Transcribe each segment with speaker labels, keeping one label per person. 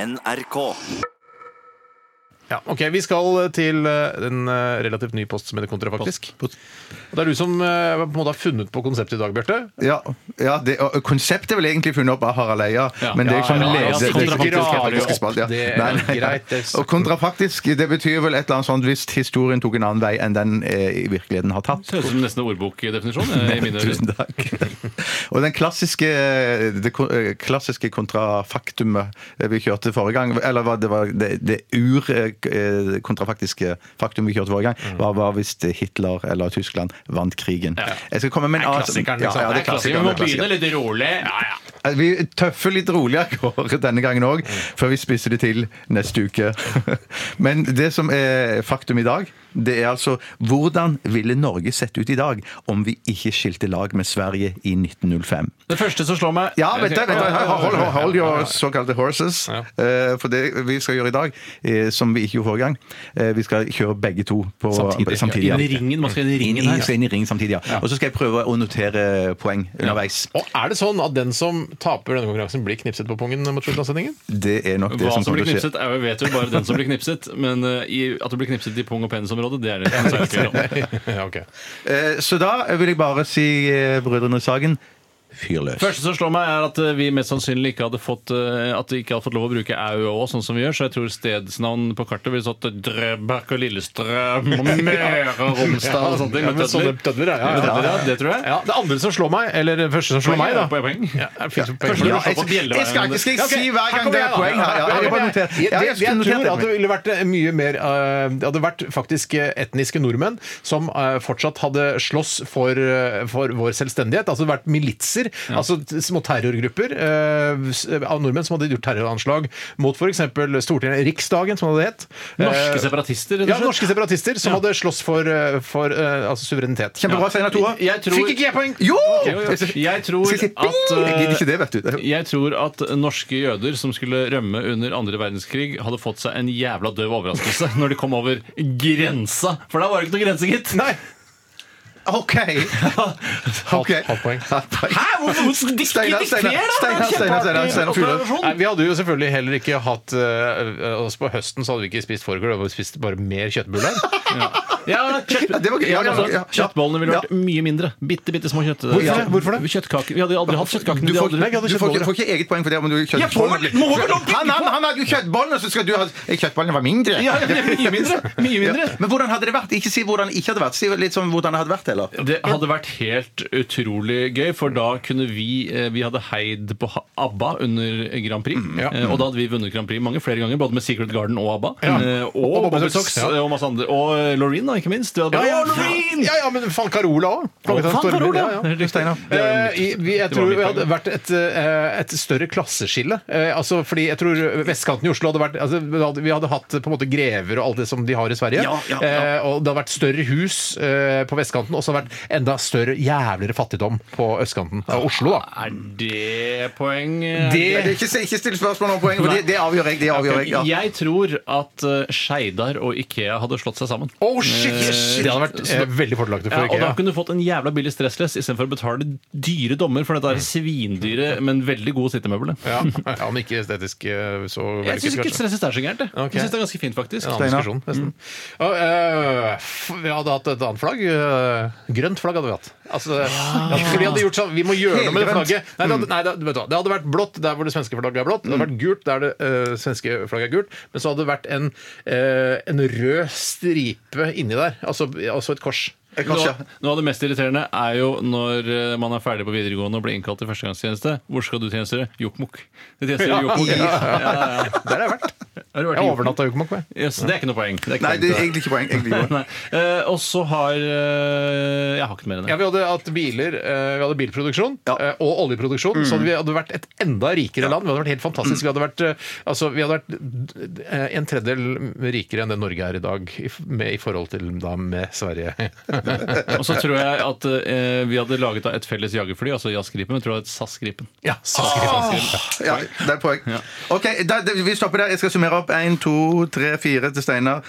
Speaker 1: NRK.
Speaker 2: Ja, ok, Vi skal til eh, en eh, relativt ny post som heter Kontrafaktisk.
Speaker 3: Post-
Speaker 2: Og Det er du som eh, på en måte har funnet på konseptet i dag, Bjarte.
Speaker 3: Ja, ja det, og konseptet er vel egentlig funnet opp av Harald Eia, men det er liksom jeg som
Speaker 2: Ja, ja, ja, så
Speaker 3: leder det er
Speaker 2: kontrafaktisk
Speaker 3: ikke
Speaker 2: er
Speaker 3: faktisk
Speaker 2: opp.
Speaker 3: spalt, ja.
Speaker 2: Det er
Speaker 3: Nei, nei,
Speaker 2: greit,
Speaker 3: nei.
Speaker 2: det er-
Speaker 3: Og kontrafaktisk, det betyr vel et eller annet sånt hvis historien tok en annen vei enn den eh, i virkeligheten har tatt.
Speaker 4: Det høres ut som nesten en ordbokdefinisjon. eh, i mine ører.
Speaker 3: Tusen takk. Og den klassiske, det ko- eh, klassiske kontrafaktumet eh, vi kjørte forrige gang, eller hva det var det, det eh, ur-kontrafaktiske faktum vi kjørte forrige gang, var, var hvis Hitler eller Tyskland vant krigen. Jeg skal komme med en
Speaker 2: Det er
Speaker 3: annen-
Speaker 2: klassikeren,
Speaker 3: Ja,
Speaker 2: liksom.
Speaker 3: ja,
Speaker 4: Det
Speaker 3: det
Speaker 4: er
Speaker 3: er
Speaker 4: klassisk. Vi
Speaker 3: klassikeren. det
Speaker 4: må
Speaker 3: er
Speaker 4: begynne
Speaker 3: klassikeren.
Speaker 4: litt rolig. Ja, ja.
Speaker 3: Eh, Vi tøffer litt roligere gårde denne gangen òg, før vi spisser det til neste uke. Men det som er faktum i dag, det er altså hvordan ville Norge sett ut i dag om vi ikke skilte lag med Sverige i 1905?
Speaker 4: Det første som slår meg
Speaker 3: Ja, vent, da, vent, da. hold, hold, hold, hold your såkalte horses. Eh, For det vi skal gjøre i dag, eh, som vi ikke gjorde forrige gang, eh, vi skal kjøre begge to på, samtidig.
Speaker 4: Inn
Speaker 3: ja.
Speaker 4: i ringen. Man skal inn i
Speaker 3: Inn
Speaker 4: ringen
Speaker 3: i,
Speaker 4: her.
Speaker 3: skal inn i ring samtidig, ja. Og så skal jeg prøve å notere poeng underveis.
Speaker 2: Og Er det sånn at den som taper denne konkurransen, blir knipset på pungen mot slutten av sendingen?
Speaker 3: Det er nok det
Speaker 4: Hva
Speaker 3: som
Speaker 4: som
Speaker 3: kommer til
Speaker 4: blir
Speaker 3: å skje.
Speaker 4: knipset, er jo, vet jo bare den som blir knipset. Men eh, i, at det blir knipset i pung- og penisområdet, det er det som er tvil om.
Speaker 2: ja, ok.
Speaker 3: Eh, Så da vil jeg bare si eh, Brødrene Sagen fyr løs.
Speaker 4: første som slår meg, er at eh, vi mest sannsynlig ikke hadde fått eh, At vi ikke hadde fått lov å bruke au og å, sånn som vi gjør. Så jeg tror stedsnavn på kartet ville stått Drøbak og Lillestrøm og Møre og Romsdal og sånne ting.
Speaker 2: Ja,
Speaker 4: med
Speaker 2: men sånne
Speaker 4: tødler.
Speaker 2: tødler, ja,
Speaker 4: Med
Speaker 2: ja,
Speaker 4: tødler,
Speaker 2: ja.
Speaker 4: ja, Det tror jeg.
Speaker 2: Ja, det andre som slår meg, eller det første som slår meg, da
Speaker 4: Poeng, poeng.
Speaker 2: Ja, det finnes jo poeng.
Speaker 4: Første
Speaker 3: Ja,
Speaker 4: du slår
Speaker 3: jeg,
Speaker 4: på bjelleveien.
Speaker 3: jeg skal ikke skal jeg si hver gang det er poeng her. Ja,
Speaker 2: Ja,
Speaker 3: jeg
Speaker 2: ja,
Speaker 3: har bare
Speaker 2: men
Speaker 3: notert.
Speaker 2: jeg-
Speaker 3: Ja,
Speaker 2: jeg-
Speaker 3: jeg skulle
Speaker 2: jeg tror at
Speaker 3: notert
Speaker 2: det
Speaker 3: det.
Speaker 2: ville vært mye mer eh, Det hadde vært faktisk eh, etniske nordmenn som eh, fortsatt hadde slåss for, eh, for vår selvstendighet. Altså det hadde vært militser, altså t- små terrorgrupper eh, s- av nordmenn som hadde gjort terroranslag mot f.eks. Stortinget, Riksdagen, som det hadde hett.
Speaker 4: Norske
Speaker 2: Eh,
Speaker 4: separatister, rett og
Speaker 2: Ja,
Speaker 4: slett.
Speaker 2: norske separatister som
Speaker 4: Ja.
Speaker 2: hadde slåss for, eh, for eh, altså suverenitet.
Speaker 3: Kjempebra, Steinar Tore.
Speaker 4: Jeg tror-
Speaker 3: Fikk ikke jeg poeng? Jo!
Speaker 4: Jo, jo. Jeg tror
Speaker 3: Skal jeg si
Speaker 4: at, eh,
Speaker 3: ping? Jeg gidder ikke det, vet du.
Speaker 4: Jeg tror at norske jøder som skulle rømme under andre verdenskrig, hadde fått seg en jævla døv overraskelse når de kom over grensa. For da var det ikke noe grense, gitt.
Speaker 2: Nei!
Speaker 3: OK. Ok.
Speaker 2: halvt poeng.
Speaker 3: Halvt poeng.
Speaker 4: Hæ? Hvorfor hvorfor dikter
Speaker 3: Steinar,
Speaker 4: dikter
Speaker 3: Steinar,
Speaker 4: dere,
Speaker 3: Steinar, Steinar, Steinar,
Speaker 4: da? Det er
Speaker 3: Steinar,
Speaker 4: kjempeartig
Speaker 3: Steinar,
Speaker 4: observasjon.
Speaker 2: Nei, vi hadde jo selvfølgelig heller ikke hatt øh, oss På høsten så hadde vi ikke spist fårikål, vi hadde spist bare mer kjøttbuller.
Speaker 4: Ja, kjøtt,
Speaker 3: Ja, det var gøy. Ja, ja, ja, ja.
Speaker 4: Kjøttbollene ville vært mye mindre. Bitte, bitte små kjøtt.
Speaker 2: Hvorfor det? Hvorfor det?
Speaker 4: Kjøttkaker. Vi hadde jo aldri hatt kjøttkakene.
Speaker 3: Du
Speaker 4: de
Speaker 3: får,
Speaker 4: hadde aldri-
Speaker 3: du får, ikke, får ikke eget poeng for det om du
Speaker 4: Jeg får vel- må vel lov til å
Speaker 3: Han, han, han hadde jo kjøttbollene, så skal du ha Kjøttbollene var mindre.
Speaker 4: Ja, det er mye mindre. Mye mindre.
Speaker 3: Men hvordan hadde det vært? Ikke si hvordan det ikke hadde vært. Si litt sånn hvordan det hadde vært, eller?
Speaker 4: Det hadde vært helt utrolig gøy, for da kunne vi eh, Vi hadde heid på ha- ABBA under Grand Prix.
Speaker 2: ja.
Speaker 4: eh, Og da hadde vi vunnet Grand Prix mange flere ganger, både med Secret Garden og ABBA.
Speaker 2: Ja.
Speaker 4: eh, Og,
Speaker 2: Og Bobby
Speaker 4: Bobby
Speaker 2: Socks,
Speaker 4: Socks
Speaker 2: ja.
Speaker 4: eh, og masse andre. Og eh, Loreen, da, ikke minst. Vi hadde bare, «Å, Loreen!»
Speaker 2: ja, ja, men faen Carola òg.
Speaker 4: Å, faen, Carola! Det er riktig.
Speaker 3: Steinar.
Speaker 4: Det er
Speaker 2: Eh,
Speaker 4: mitt-
Speaker 2: i- vi- jeg
Speaker 4: det var
Speaker 2: tror
Speaker 4: mitt
Speaker 2: det
Speaker 4: poeng.
Speaker 2: hadde vært et, eh, et større klasseskille. Eh, altså, fordi jeg tror Vestkanten i Oslo hadde vært altså, vi hadde- Vi hadde hatt eh, på en måte grever og alt det som de har i Sverige.
Speaker 3: Ja, ja, ja.
Speaker 2: Eh, og det hadde vært større hus eh, på vestkanten, og så hadde det vært enda større, jævligere fattigdom på østkanten av Oslo, da.
Speaker 4: Er det poeng? eh,
Speaker 3: Nei, det er ikke, ikke still spørsmål om poeng, for det, det avgjør jeg. Det avgjør jeg ja.
Speaker 4: Jeg tror at eh, Skeidar og Ikea hadde slått seg sammen.
Speaker 2: Oh, shit, shit. Det hadde vært eh, veldig fordelaktig
Speaker 4: Ja,
Speaker 2: for
Speaker 4: og da
Speaker 2: IKEA.
Speaker 4: kunne du fått en jævla billig stressless istedenfor å betale dyre dommer for dette her
Speaker 3: Mm.
Speaker 4: svindyre, men veldig gode sittemøbelet.
Speaker 2: Ja, ja, men ikke estetisk eh, så
Speaker 4: Jeg syns ikke stressless er så gærent. jeg.
Speaker 2: Ok.
Speaker 4: Jeg synes det er ganske fint, faktisk.
Speaker 2: En annen diskusjon, nesten. Og, øh, f- vi hadde hatt et annet flagg. øh, grønt flagg hadde vi hatt. Altså, ja, Mm. for de hadde gjort sånn, Vi må gjøre noe med det
Speaker 3: Helgrønt.
Speaker 2: flagget. Nei, det hadde, nei, det, vet du hva, det hadde vært blått der hvor det svenske flagget er blått. Det hadde vært gult der det øh, svenske flagget er gult. Men så hadde det vært en, øh, en rød stripe inni der. Altså, altså et kors.
Speaker 3: Jeg kan
Speaker 4: Nå,
Speaker 3: ikke-
Speaker 4: noe av det mest irriterende er jo når eh, man er ferdig på videregående og blir innkalt til førstegangstjeneste. Hvor skal du tjenestegjøre? Jokkmokk. Du tjenestegjør i Jokkmokk.
Speaker 3: Ja,
Speaker 2: Der har jeg vært.
Speaker 4: Har du vært i
Speaker 2: Jeg
Speaker 4: Jokkmokk?
Speaker 2: overnatta i Jokkmokk. jeg.
Speaker 4: Yes, det er ikke noe poeng. Det er ikke
Speaker 3: Nei, det er
Speaker 4: poeng.
Speaker 3: egentlig ikke poeng. Egentlig ikke poeng.
Speaker 4: Nei. Eh, og så har eh, Jeg har ikke mer enn det.
Speaker 2: Ja, vi hadde hatt biler, eh, vi hadde bilproduksjon eh, og oljeproduksjon, så vi hadde vært et enda rikere land. Vi hadde vært helt fantastisk. Vi hadde vært, eh, altså, vi hadde vært d- d- eh, en tredjedel rikere enn det Norge er i dag, i, f- med, i forhold til da med Sverige.
Speaker 4: Og så tror jeg at eh, vi hadde laget da et felles jagerfly, altså Jazz Gripen, men jeg tror det var et SAS Gripen.
Speaker 2: ja, så skriver jeg.
Speaker 3: Ja, det er poeng. Ok, da, da, Vi stopper der. Jeg skal summere opp. Én, to, tre, fire til Steinar.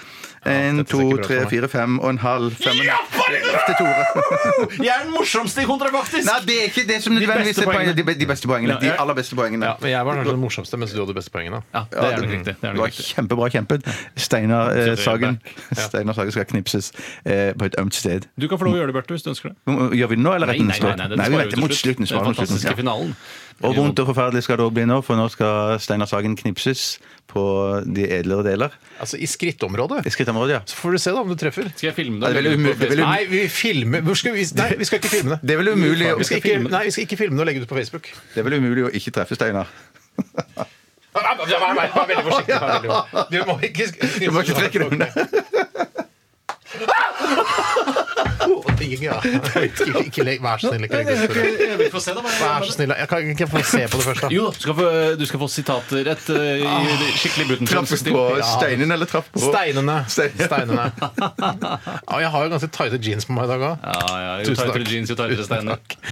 Speaker 3: Én,
Speaker 2: dette ser
Speaker 3: to,
Speaker 2: ikke bra ut
Speaker 3: tre,
Speaker 2: for meg.
Speaker 3: fire, fem og en halv. Fem. Ja, faen! til Tore.
Speaker 4: Jeg er den morsomste i kontrafaktisk!
Speaker 3: Nei, det er ikke det som nødvendigvis
Speaker 4: beste
Speaker 3: er poenget.
Speaker 4: poengene.
Speaker 3: De, be- de beste poengene.
Speaker 4: Ja,
Speaker 3: De
Speaker 4: ja.
Speaker 3: aller beste poengene.
Speaker 2: Ja, men jeg var kanskje den morsomste, mens du hadde beste poengene.
Speaker 4: Ja, det er nok riktig. Det
Speaker 3: Det
Speaker 4: er nok
Speaker 3: var
Speaker 4: riktig.
Speaker 3: kjempebra kjempet. Steinar eh,
Speaker 4: Rødberg.
Speaker 3: Sagen
Speaker 4: Ja.
Speaker 3: Steinar Sagen skal knipses eh, på et ømt sted.
Speaker 4: Du kan få lov å gjøre det, Bjarte, hvis du ønsker det.
Speaker 3: Gjør vi det nå, eller
Speaker 4: Nei,
Speaker 3: retten
Speaker 4: nei, nei, nei, den
Speaker 3: Nei, vi
Speaker 4: sparer vi
Speaker 3: retter mot slutten.
Speaker 4: Den
Speaker 3: sparer mot slutten,
Speaker 4: fantastiske
Speaker 3: ja.
Speaker 4: finalen.
Speaker 3: Og vondt og forferdelig skal det også bli nå, for nå skal Steinar Sagen knipses på de edlere deler.
Speaker 2: Altså, I skrittområdet.
Speaker 3: I skrittområdet, ja.
Speaker 2: Så får du se da om du treffer.
Speaker 4: Skal jeg filme
Speaker 3: Ja,
Speaker 4: det?
Speaker 3: det er veldig umulig- det er veldig
Speaker 2: Nei, vi filmer Hvor skal vi, nei, vi skal ikke filme det.
Speaker 3: Det er vel umulig,
Speaker 2: Vi skal ikke,
Speaker 4: filme.
Speaker 2: nei, vi skal ikke filme det og legge det ut på Facebook.
Speaker 3: det er vel umulig å ikke treffe Steinar.
Speaker 2: Nei, nei, nei, nei, Vær veldig forsiktig. vær veldig forsiktig. Du må ikke
Speaker 3: Du må ikke trekke det unna.
Speaker 2: Ikke, ikke, legg- vær så snill, ikke legg det ut. på Facebook.
Speaker 4: Jeg vil få se det,
Speaker 2: Vær så snill. Jeg kan kan ikke få se på det først, da.
Speaker 4: Jo da, du skal få, du skal få sitater et eh, i skikkelig
Speaker 3: Traff
Speaker 4: Butenfeld-stil.
Speaker 3: Ah. på steinen eller traff på
Speaker 2: Steinene.
Speaker 3: Stein-
Speaker 2: Steinene. Ja, jeg har jo ganske tighte jeans på meg i dag òg.
Speaker 4: Ja, ja, jo
Speaker 2: Tusen
Speaker 4: tightere
Speaker 2: takk.
Speaker 4: jeans, jo tightere steiner.